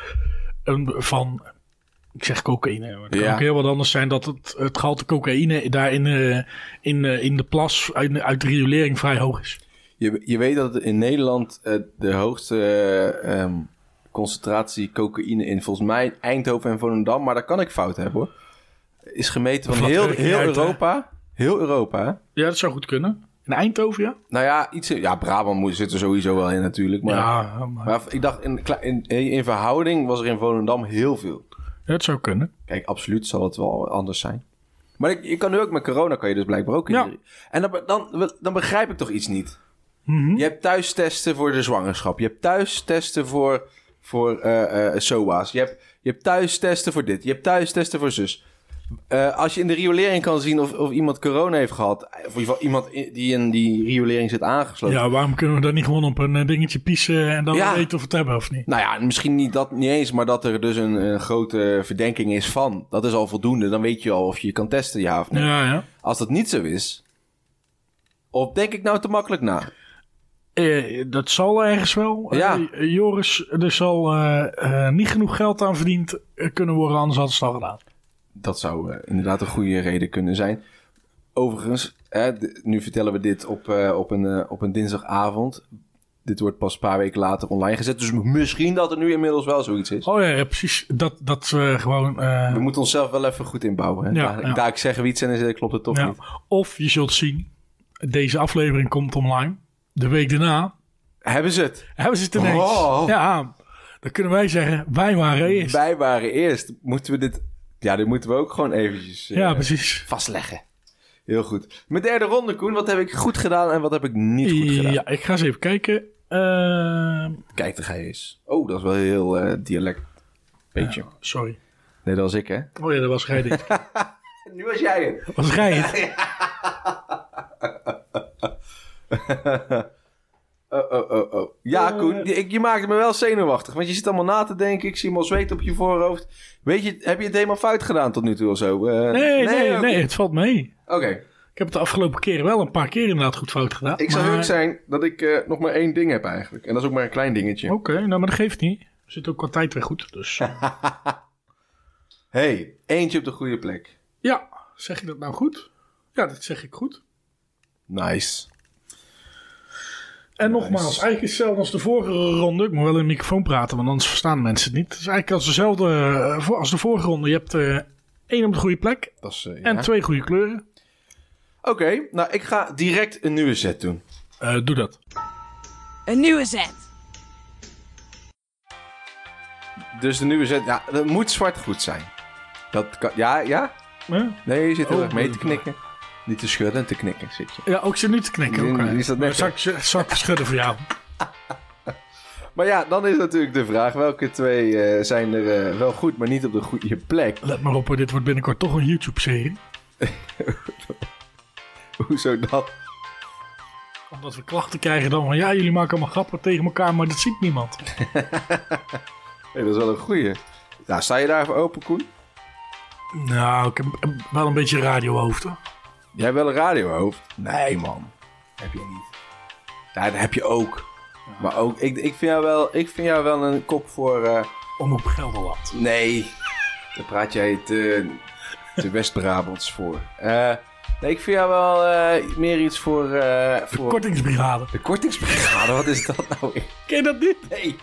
S2: een van... Ik zeg cocaïne, maar het kan
S3: Ja.
S2: ook heel wat anders zijn. Dat het, het gehalte cocaïne daar in, eh, in, eh, in de plas uit, uit de riolering vrij hoog is.
S3: Je, je weet dat in Nederland eh, de hoogste eh, ehm, concentratie cocaïne in volgens mij Eindhoven en Volendam, maar daar kan ik fout hebben hoor. Is gemeten van
S2: Vlak
S3: heel,
S2: er
S3: heel
S2: uit, hè?
S3: Europa. Heel Europa. hè?
S2: Ja, dat zou goed kunnen. In Eindhoven, ja?
S3: Nou ja, iets, in- ja Brabant moet, zit er sowieso wel in natuurlijk. Maar,
S2: ja, maar
S3: maar ik dacht, in, kle- in, in verhouding was er in Volendam heel veel.
S2: dat zou kunnen.
S3: Kijk, absoluut zal het wel anders zijn. Maar ik, je kan nu ook met corona, kan je dus blijkbaar ook in.
S2: Ja.
S3: de- En dan, be- dan, dan begrijp ik toch iets niet.
S2: Mhm.
S3: Je hebt thuistesten voor de zwangerschap. Je hebt thuistesten voor, voor eh, eh, SOA's. Je hebt, je hebt thuistesten voor dit. Je hebt thuistesten voor zus. Eh, als je in de riolering kan zien of, of iemand corona heeft gehad. eh, Of in ieder geval iemand i- die in die riolering zit aangesloten.
S2: Ja, waarom kunnen we dat niet gewoon op een eh, dingetje pissen en dan
S3: Ja.
S2: weten of we het hebben of niet?
S3: Nou ja, misschien niet dat niet eens, maar dat er dus een, een grote verdenking is van. Dat is al voldoende. Dan weet je al of je je kan testen, ja of nee.
S2: Ja, ja.
S3: Als dat niet zo is, of denk ik nou te makkelijk na?
S2: Eh, dat zal ergens wel. Eh,
S3: Ja.
S2: eh, Joris, er zal eh, eh, niet genoeg geld aan verdiend eh, kunnen worden, anders had ze het al gedaan.
S3: Dat zou eh, inderdaad een goede reden kunnen zijn. Overigens, hè, d- nu vertellen we dit op, eh, op, een, eh, op een dinsdagavond. Dit wordt pas een paar weken later online gezet. Dus misschien dat er nu inmiddels wel zoiets is.
S2: Oh ja, ja, precies. Dat, dat eh, gewoon... eh,
S3: We moeten onszelf wel even goed inbouwen. Hè?
S2: Ja,
S3: daar,
S2: ja.
S3: daar ik zeg iets en dan zeg- klopt het toch
S2: ja.
S3: niet.
S2: Of je zult zien, deze aflevering komt online. De week daarna
S3: Hebben ze het?
S2: hebben ze het ineens.
S3: Oh.
S2: Ja, dan kunnen wij zeggen, wij waren eerst.
S3: Wij waren eerst. Moeten we dit... Ja, dit moeten we ook gewoon eventjes eh,
S2: Ja, precies.
S3: vastleggen. Heel goed. Mijn derde ronde, Koen. Wat heb ik goed gedaan en wat heb ik niet goed gedaan?
S2: Ja, ik ga eens even kijken. Eh,
S3: Kijk, daar ga je eens. Oh, dat is wel heel eh, dialect. Beetje.
S2: sorry.
S3: Nee, dat was ik, hè?
S2: Oh ja, dat was gij dit.
S3: Nu was jij het.
S2: was gij het.
S3: Oh, oh, oh, oh. Ja,
S2: Eh.
S3: Koen, je, ik- je maakte me wel zenuwachtig. Want je zit allemaal na te denken. Ik zie hem al zweet op je voorhoofd. Weet je, heb je het helemaal fout gedaan tot nu toe of zo? Eh,
S2: Nee, nee, nee,
S3: oké.
S2: het valt mee.
S3: Oké,
S2: Ik heb het de afgelopen keren wel een paar keer inderdaad goed fout gedaan.
S3: ik zou
S2: maar-
S3: leuk zijn dat ik eh, nog maar één ding heb eigenlijk. En dat is ook maar een klein dingetje.
S2: Oké, nou, maar dat geeft niet. Er zit ook qua tijd weer goed, dus...
S3: hey, eentje op de goede plek.
S2: ja, zeg je dat nou goed? Ja, dat zeg ik goed.
S3: Nice.
S2: En nogmaals, eigenlijk is hetzelfde als de vorige ronde. Ik moet wel in de microfoon praten, want anders verstaan mensen het niet. Het is eigenlijk als, dezelfde, eh, voor- als de vorige ronde. Je hebt eh, één op de goede plek
S3: Dat is, eh,
S2: en
S3: ja.
S2: twee goede kleuren.
S3: Oké, nou ik ga direct een nieuwe set doen.
S2: Eh, doe dat.
S1: Een nieuwe zet.
S3: Dus de nieuwe set, ja, dat moet zwart goed zijn. Dat kan, ja, ja?
S2: Hè?
S3: Nee, je zit heel
S2: Oh,
S3: erg mee te
S2: moeilijk.
S3: knikken. Niet te schudden en te knikken zit je.
S2: Ja, ook ze nu te knikken.
S3: Nee,
S2: ook, hè.
S3: nee, die staat
S2: Maar
S3: net-
S2: zal ik, zal ik schudden voor jou?
S3: Maar ja, dan is natuurlijk de vraag: welke twee eh, zijn er eh, wel goed, maar niet op de goede plek?
S2: Let maar op, hoor, dit wordt binnenkort toch een YouTube-serie.
S3: Hoezo dat?
S2: Omdat we klachten krijgen dan van ja, jullie maken allemaal grappen tegen elkaar, maar dat ziet niemand.
S3: Hey, dat is wel een goeie. Nou, sta je daarvoor open, Koen?
S2: Nou, ik heb eh, wel een beetje radiohoofd. hoor.
S3: Jij hebt wel een radiohoofd? Nee, man. Heb je niet. Ja, dat heb je ook. Maar ook, ik, ik, vind jou wel, ik vind jou wel een kop voor. eh,
S2: Om op Gelderland.
S3: Nee, daar praat jij te, te West-Brabants voor. Eh, nee, ik vind jou wel eh, meer iets voor. eh, voor...
S2: Kortingsbrigade.
S3: De kortingsbrigade, wat is dat nou?
S2: Ken je dat niet?
S3: Nee.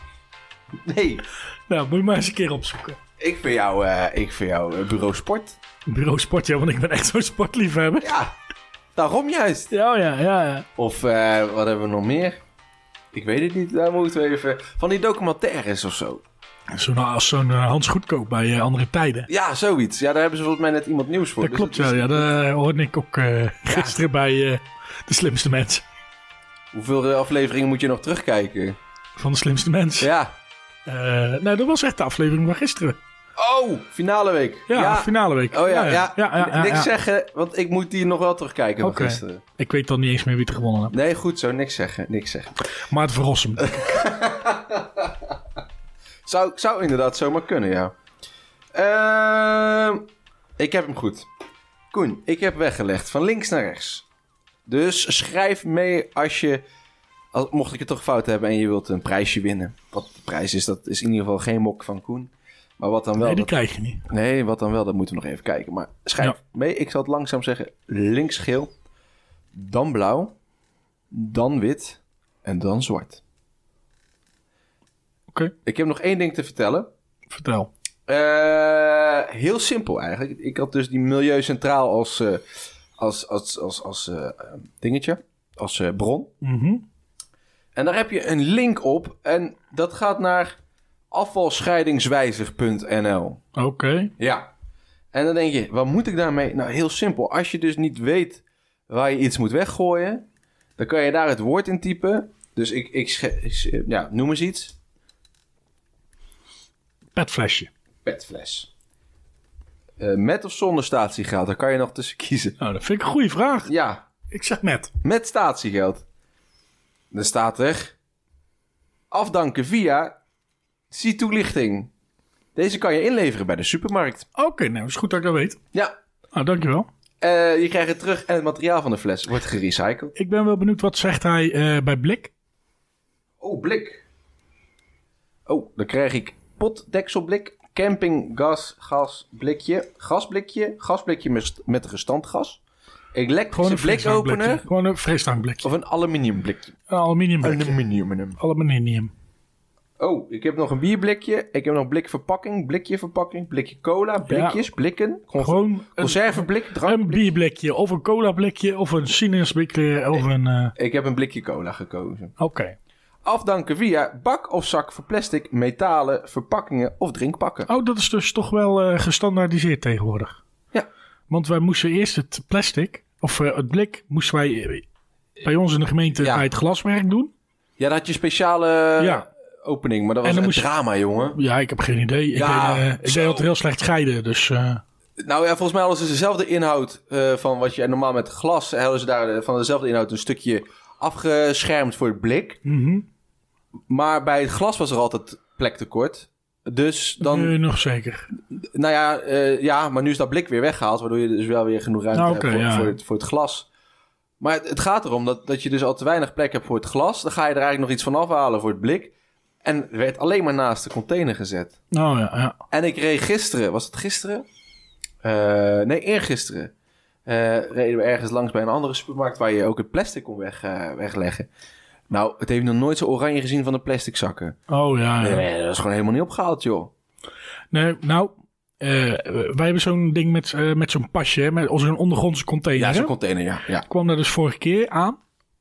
S3: Nee.
S2: Nou, moet je maar eens een keer opzoeken.
S3: Ik vind jou, eh, ik vind jou eh, bureau sport.
S2: Bureau Sport, ja, want ik ben echt zo'n sportliefhebber.
S3: Ja, daarom juist.
S2: Ja, oh ja, ja. ja.
S3: Of eh, wat hebben we nog meer? Ik weet het niet, daar moeten we even... Van die documentaires of zo.
S2: Zo'n, als zo'n eh, Hans Goedkoop bij eh, andere tijden.
S3: Ja, zoiets. Ja, daar hebben ze volgens mij net iemand nieuws voor.
S2: Dat
S3: Dus
S2: klopt,
S3: het
S2: ja.
S3: is-
S2: ja dat hoorde ik ook eh, gisteren bij eh, de slimste mens.
S3: Hoeveel eh, afleveringen moet je nog terugkijken?
S2: Van de slimste mens.
S3: Ja,
S2: Eh, nou, dat was echt de aflevering van gisteren.
S3: Oh, finale week.
S2: Ja, finale week.
S3: Oh ja, ja.
S2: ja, ja, ja,
S3: niks
S2: ja.
S3: zeggen, want ik moet die nog wel terugkijken van
S2: Oké.
S3: gisteren.
S2: Ik weet dan niet eens meer wie het gewonnen heeft.
S3: Nee, goed zo, niks zeggen, niks zeggen.
S2: Maar het verrost hem.
S3: Zou, zou inderdaad zomaar kunnen, ja. Ehm, ik heb hem goed. Koen, ik heb weggelegd van links naar rechts. Dus schrijf mee als je... Als, mocht ik het toch fout hebben en je wilt een prijsje winnen. Wat de prijs is, dat is in ieder geval geen mok van Koen. Maar wat dan wel...
S2: Nee, die
S3: dat-
S2: krijg je niet.
S3: Nee, wat dan wel, dat moeten we nog even kijken. Maar schrijf
S2: Ja.
S3: mee. Ik zal het langzaam zeggen. Links geel, dan blauw, dan wit en dan zwart.
S2: Oké,
S3: Ik heb nog één ding te vertellen.
S2: vertel.
S3: Eh, heel simpel eigenlijk. Ik had dus die Milieu Centraal als, eh, als, als, als, als eh, eh, dingetje, als eh, bron.
S2: Mhm.
S3: En daar heb je een link op en dat gaat naar afvalscheidingswijzig.nl.
S2: Oké.
S3: Ja. En dan denk je, wat moet ik daarmee? Nou, heel simpel. Als je dus niet weet waar je iets moet weggooien, dan kan je daar het woord in typen. Dus ik, ik, sche- ik sche- ja, noem eens iets.
S2: Petflesje.
S3: Petfles. Eh, met of zonder statiegeld, daar kan je nog tussen kiezen.
S2: Nou, dat vind ik een goede vraag.
S3: Ja,
S2: Ik zeg net.
S3: met statiegeld. Dan staat er... Afdanken via... Zie toelichting. Deze kan je inleveren bij de supermarkt.
S2: Oké, nou, is goed dat ik dat weet.
S3: Ja,
S2: Nou, dankjewel.
S3: eh, je krijgt het terug en het materiaal van de fles wordt gerecycled.
S2: Ik ben wel benieuwd wat zegt hij eh, bij Blik.
S3: Oh, blik. Oh, dan krijg ik potdekselblik, campinggas, gas, blikje, gasblikje, gasblikje met, met restantgas, elektrische
S2: frisdrankblikje.
S3: blikopener
S2: Gewoon een frisdrankblikje.
S3: of een aluminiumblikje.
S2: Een aluminium blikje.
S3: Aluminium.
S2: Aluminium.
S3: Oh, ik heb nog een bierblikje, ik heb nog blikverpakking, blikjeverpakking, blikje cola, blikjes, blikken, con-
S2: Gewoon een,
S3: conserveblik, drank.
S2: een bierblikje of een cola blikje of een sinaasappelblikje of een... eh,
S3: Ik heb een blikje cola gekozen.
S2: Oké.
S3: Afdanken via bak of zak voor plastic, metalen, verpakkingen of drinkpakken.
S2: Oh, dat is dus toch wel eh, gestandaardiseerd tegenwoordig.
S3: Ja.
S2: Want wij moesten eerst het plastic, of eh, het blik, moesten wij eh, bij ons in de gemeente
S3: Ja.
S2: bij het glaswerk doen.
S3: Ja, dan had je speciale eh,
S2: Ja.
S3: opening, maar dat was
S2: En dan
S3: een
S2: moest je-
S3: drama, jongen.
S2: Ja, ik heb geen idee. Ik,
S3: Ja,
S2: deed, eh, ik
S3: zo.
S2: deed altijd heel slecht scheiden, dus... eh,
S3: Nou ja, volgens mij hadden ze dezelfde inhoud eh, van wat je normaal met glas... hadden ze daar eh, van dezelfde inhoud een stukje afgeschermd voor het blik.
S2: mhm.
S3: Maar bij het glas was er altijd plek tekort. Dus dan,
S2: Nee, nog zeker.
S3: nou ja, eh, ja, maar nu is dat blik weer weggehaald... waardoor je dus wel weer genoeg ruimte
S2: Nou, oké,
S3: hebt voor,
S2: ja.
S3: voor, het, voor het glas. Maar het, het gaat erom dat, dat je dus al te weinig plek hebt voor het glas. Dan ga je er eigenlijk nog iets van afhalen voor het blik. En het werd alleen maar naast de container gezet.
S2: Nou ja, ja.
S3: En ik reed gisteren, was het gisteren? Eh, nee, eergisteren. Eh reden we ergens langs bij een andere supermarkt waar je ook het plastic kon weg, eh, wegleggen. Nou, het heeft nog nooit zo oranje gezien van de plastic zakken.
S2: Oh ja. ja.
S3: Nee, dat is gewoon helemaal niet opgehaald, joh.
S2: Nee, nou, eh, wij hebben zo'n ding met, eh, met zo'n pasje, hè, met als een ondergrondse container.
S3: Ja,
S2: hè.
S3: zo'n container, ja. ja.
S2: Ik kwam daar dus vorige keer aan.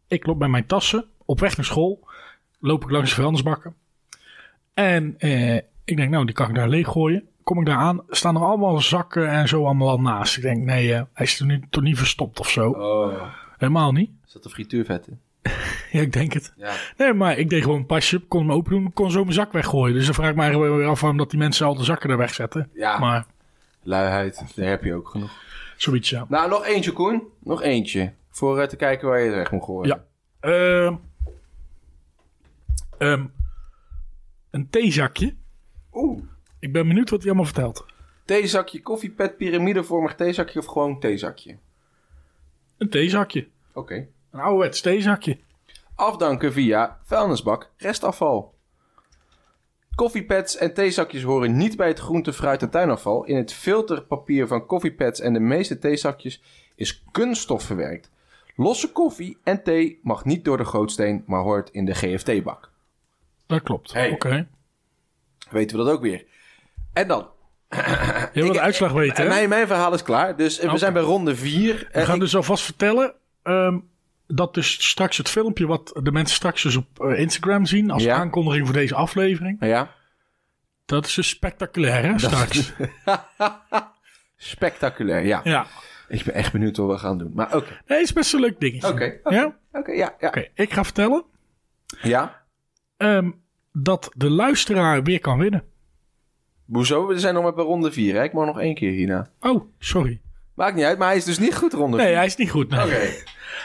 S2: Ik loop bij mijn tassen. Op weg naar school loop ik langs de vuilnisbakken. En eh, ik denk, nou, die kan ik daar leeggooien. Kom ik daar aan, staan er allemaal zakken en zo allemaal al naast. Ik denk, nee, eh, hij is toch niet, toch niet verstopt of zo.
S3: Oh.
S2: Helemaal niet.
S3: Zat de frituurvet in?
S2: Ja, ik denk het.
S3: Ja.
S2: Nee, maar ik deed gewoon een pasje, kon hem open doen, kon zo mijn zak weggooien. Dus dan vraag ik me eigenlijk weer af waarom dat die mensen al de zakken daar wegzetten.
S3: Ja,
S2: Maar
S3: luiheid, daar heb je ook genoeg.
S2: zoiets, ja.
S3: Nou, nog eentje, Koen. Nog eentje. Voor eh, te kijken waar je het weg moet gooien.
S2: Ja. Ehm, ehm, een theezakje.
S3: Oeh.
S2: Ik ben benieuwd wat hij allemaal vertelt.
S3: Theezakje, koffiepet, piramidevormig theezakje of gewoon theezakje?
S2: Een theezakje.
S3: Oké.
S2: Een ouderwets theezakje.
S3: Afdanken via vuilnisbak, restafval. Koffiepads en theezakjes horen niet bij het groente, fruit en tuinafval. In het filterpapier van koffiepads en de meeste theezakjes is kunststof verwerkt. Losse koffie en thee mag niet door de gootsteen, maar hoort in de GFT-bak.
S2: Dat klopt.
S3: Hey.
S2: Oké.
S3: Weten we dat ook weer. En dan,
S2: Je wil de
S3: Ik- eh,
S2: uitslag weten,
S3: en
S2: hè?
S3: mijn, mijn verhaal is klaar. Dus eh, we
S2: Oké.
S3: zijn bij ronde 4.
S2: We gaan dus alvast vertellen ehm, dat dus straks het filmpje wat de mensen straks dus op eh, Instagram zien als
S3: Ja.
S2: aankondiging voor deze aflevering.
S3: Ja,
S2: Dat is dus spectaculair, hè, straks.
S3: spectaculair, ja.
S2: Ja.
S3: Ik ben echt benieuwd wat we gaan doen. Maar oké,
S2: Nee, is best een leuk dingetje.
S3: oké, oké,
S2: Ja? Oké,
S3: oké, ja, ja.
S2: ik ga vertellen
S3: ja.
S2: ehm, dat de luisteraar weer kan winnen.
S3: Hoezo? We zijn nog maar bij ronde 4. Hè? Ik mag nog één keer hierna.
S2: Oh, sorry.
S3: Maakt niet uit, maar hij is dus niet goed ronde
S2: Nee,
S3: 4.
S2: hij is niet goed. nee.
S3: Oké.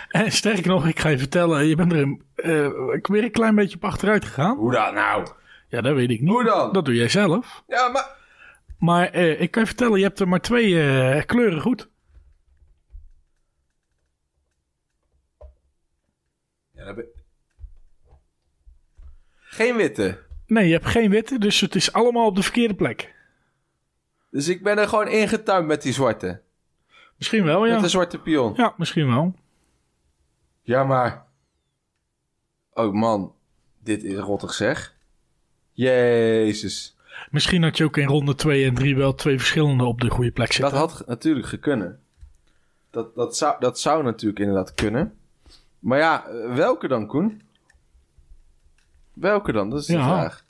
S2: En sterker nog, ik ga je vertellen, je bent er een, eh, ik ben weer een klein beetje op achteruit gegaan.
S3: Hoe dan nou?
S2: Ja, dat weet ik niet.
S3: Hoe dan?
S2: Dat doe jij zelf.
S3: Ja, maar...
S2: Maar eh, ik kan je vertellen, je hebt er maar twee eh, kleuren goed.
S3: Ja, dat ben- Geen witte.
S2: Nee, je hebt geen witte, dus het is allemaal op de verkeerde plek.
S3: Dus ik ben er gewoon ingetuind met die zwarte.
S2: Misschien wel, Oh, ja.
S3: Met de zwarte pion.
S2: Ja, misschien wel.
S3: Ja, maar... Oh man, dit is rottig zeg. Jezus.
S2: Misschien had je ook in ronde 2 en 3 wel twee verschillende op de goede plek
S3: Dat
S2: zitten.
S3: had ge- natuurlijk gekunnen. Dat, dat, zou, dat zou natuurlijk inderdaad kunnen. Maar ja, eh, welke dan, Koen? Welke dan? Dat is de
S2: Ja.
S3: vraag.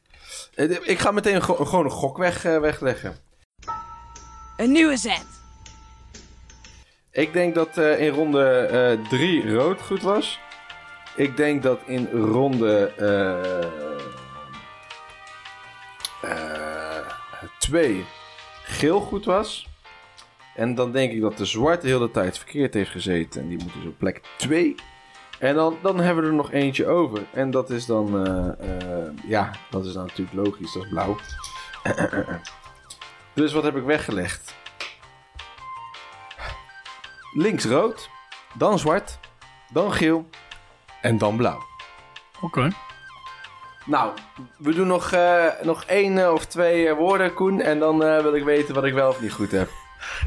S3: Eh, Ik ga meteen go- gewoon een gok weg, eh, wegleggen.
S1: Een nieuwe zet.
S3: Ik denk dat eh, in ronde 3 rood goed was. Ik denk dat in ronde eh, 2 eh, geel goed was. En dan denk ik dat de zwarte heel de tijd verkeerd heeft gezeten. En die moet dus op plek 2. En dan, dan hebben we er nog eentje over. En dat is dan. eh, eh, ja, dat is dan natuurlijk logisch. Dat is blauw. dus wat heb ik weggelegd? Links rood, dan zwart, dan geel en dan blauw.
S2: Oké.
S3: Nou, we doen nog, eh, nog één eh, of twee eh, woorden, Koen. En dan eh, wil ik weten wat ik wel of niet goed heb.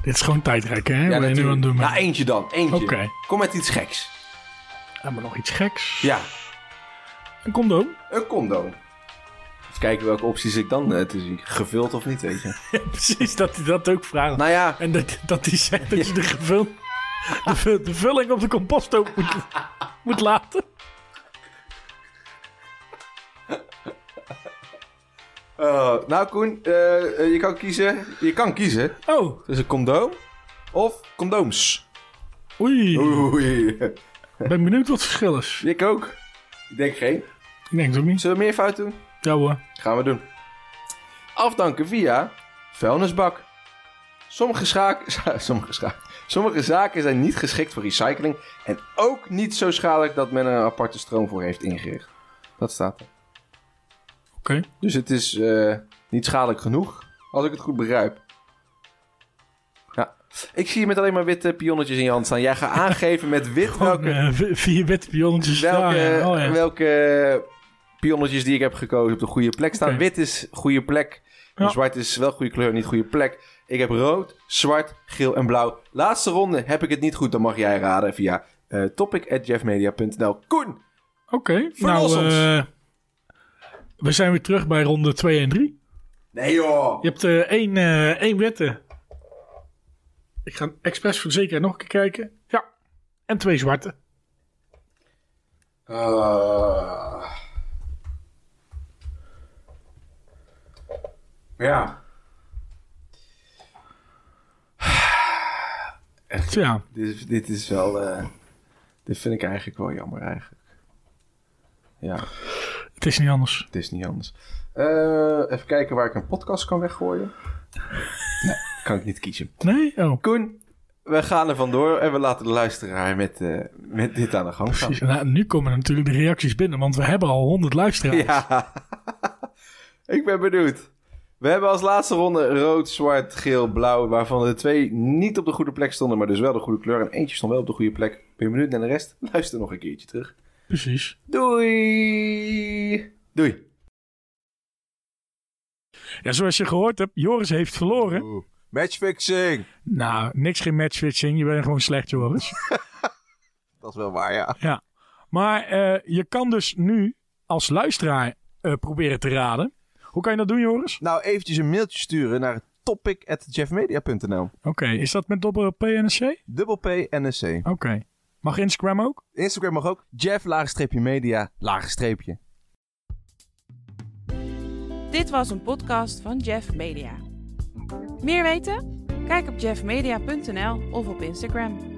S2: Dit is gewoon tijdrekken, hè? Wat je nu aan
S3: natuurlijk.
S2: het doen bent.
S3: Nou, eentje dan. Eentje.
S2: Oké.
S3: Kom met iets geks.
S2: Ja, maar nog iets geks.
S3: Ja,
S2: Een condoom.
S3: een condoom. Even kijken welke opties ik dan eh, te zien. Gevuld of niet, weet je.
S2: Precies, dat hij dat ook vraagt.
S3: Nou ja,
S2: En dat, dat hij zegt dat je de, gevul, de, vu- de vulling op de compost ook moet, moet laten.
S3: eh, nou Koen, eh, eh, je kan kiezen. Je kan kiezen
S2: Oh,
S3: tussen condoom of condooms.
S2: oei.
S3: Oei,
S2: Ik ben benieuwd wat het verschil is.
S3: ik ook. Ik denk geen.
S2: Ik denk het ook niet.
S3: Zullen we meer fout doen?
S2: Ja hoor.
S3: Gaan we doen. Afdanken via vuilnisbak. Sommige, schaak- sommige, schaak- sommige zaken zijn niet geschikt voor recycling en ook niet zo schadelijk dat men er een aparte stroom voor heeft ingericht. Dat staat er.
S2: Oké.
S3: Dus het is eh, niet schadelijk genoeg, als ik het goed begrijp. Ja. Ik zie je met alleen maar witte pionnetjes in je hand staan. Jij gaat aangeven met wit
S2: Gewoon
S3: welke,
S2: eh, v- vier witte pionnetjes.
S3: Dus welke, eh,
S2: daar, ja. Oh, ja.
S3: welke pionnetjes die ik heb gekozen op de goede plek staan.
S2: Oké.
S3: Wit is goede plek. en
S2: Ja.
S3: Zwart is wel goede kleur, niet goede plek. Ik heb rood, zwart, geel en blauw. Laatste ronde heb ik het niet goed, dan mag jij raden via eh topic.jeffmedia.nl. Koen!
S2: Oké.
S3: Verlos
S2: Nou,
S3: ons.
S2: eh, we zijn weer terug bij ronde 2 en 3.
S3: Nee joh!
S2: Je hebt eh één, eh, één witte. Ik ga expres voor de zekerheid nog een keer kijken. Ja. En twee zwarte.
S3: Ah. Ja.
S2: Ja.
S3: Dit, is- dit is wel... eh, dit vind ik eigenlijk wel jammer eigenlijk. Ja.
S2: Het is niet anders.
S3: Het is niet anders. Eh, even kijken waar ik een podcast kan weggooien. nee, kan ik niet kiezen.
S2: Nee? Oh.
S3: Koen, we gaan er vandoor en we laten de luisteraar met, eh, met dit aan de gang gaan.
S2: Precies. Nou, nu komen natuurlijk de reacties binnen, want we hebben al 100 luisteraars.
S3: Ja, ik ben benieuwd. We hebben als laatste ronde rood, zwart, geel, blauw, waarvan de twee niet op de goede plek stonden, maar dus wel de goede kleur. En eentje stond wel op de goede plek. Ben je benieuwd naar de rest? Luister nog een keertje terug.
S2: Precies.
S3: Doei! Doei.
S2: Ja, zoals je gehoord hebt, Joris heeft verloren.
S4: Matchfixing.
S2: Nou, niks geen matchfixing. Je bent gewoon slecht, Joris.
S4: Dat is wel waar, ja.
S2: Maar eh, je kan dus nu als luisteraar eh, proberen te raden. Hoe kan je dat doen, Joris?
S4: Nou, eventjes een mailtje sturen naar topic.jeffmedia.nl.
S2: Oké, is dat met dubbel P en een C? Oké.
S4: Dubbel P, NSC.
S2: Mag Instagram ook?
S4: Instagram mag ook. Jeff, laagstreepje media, laagstreepje.
S1: Dit was een podcast van Jeff Media. Meer weten? Kijk op jeffmedia.nl of op Instagram.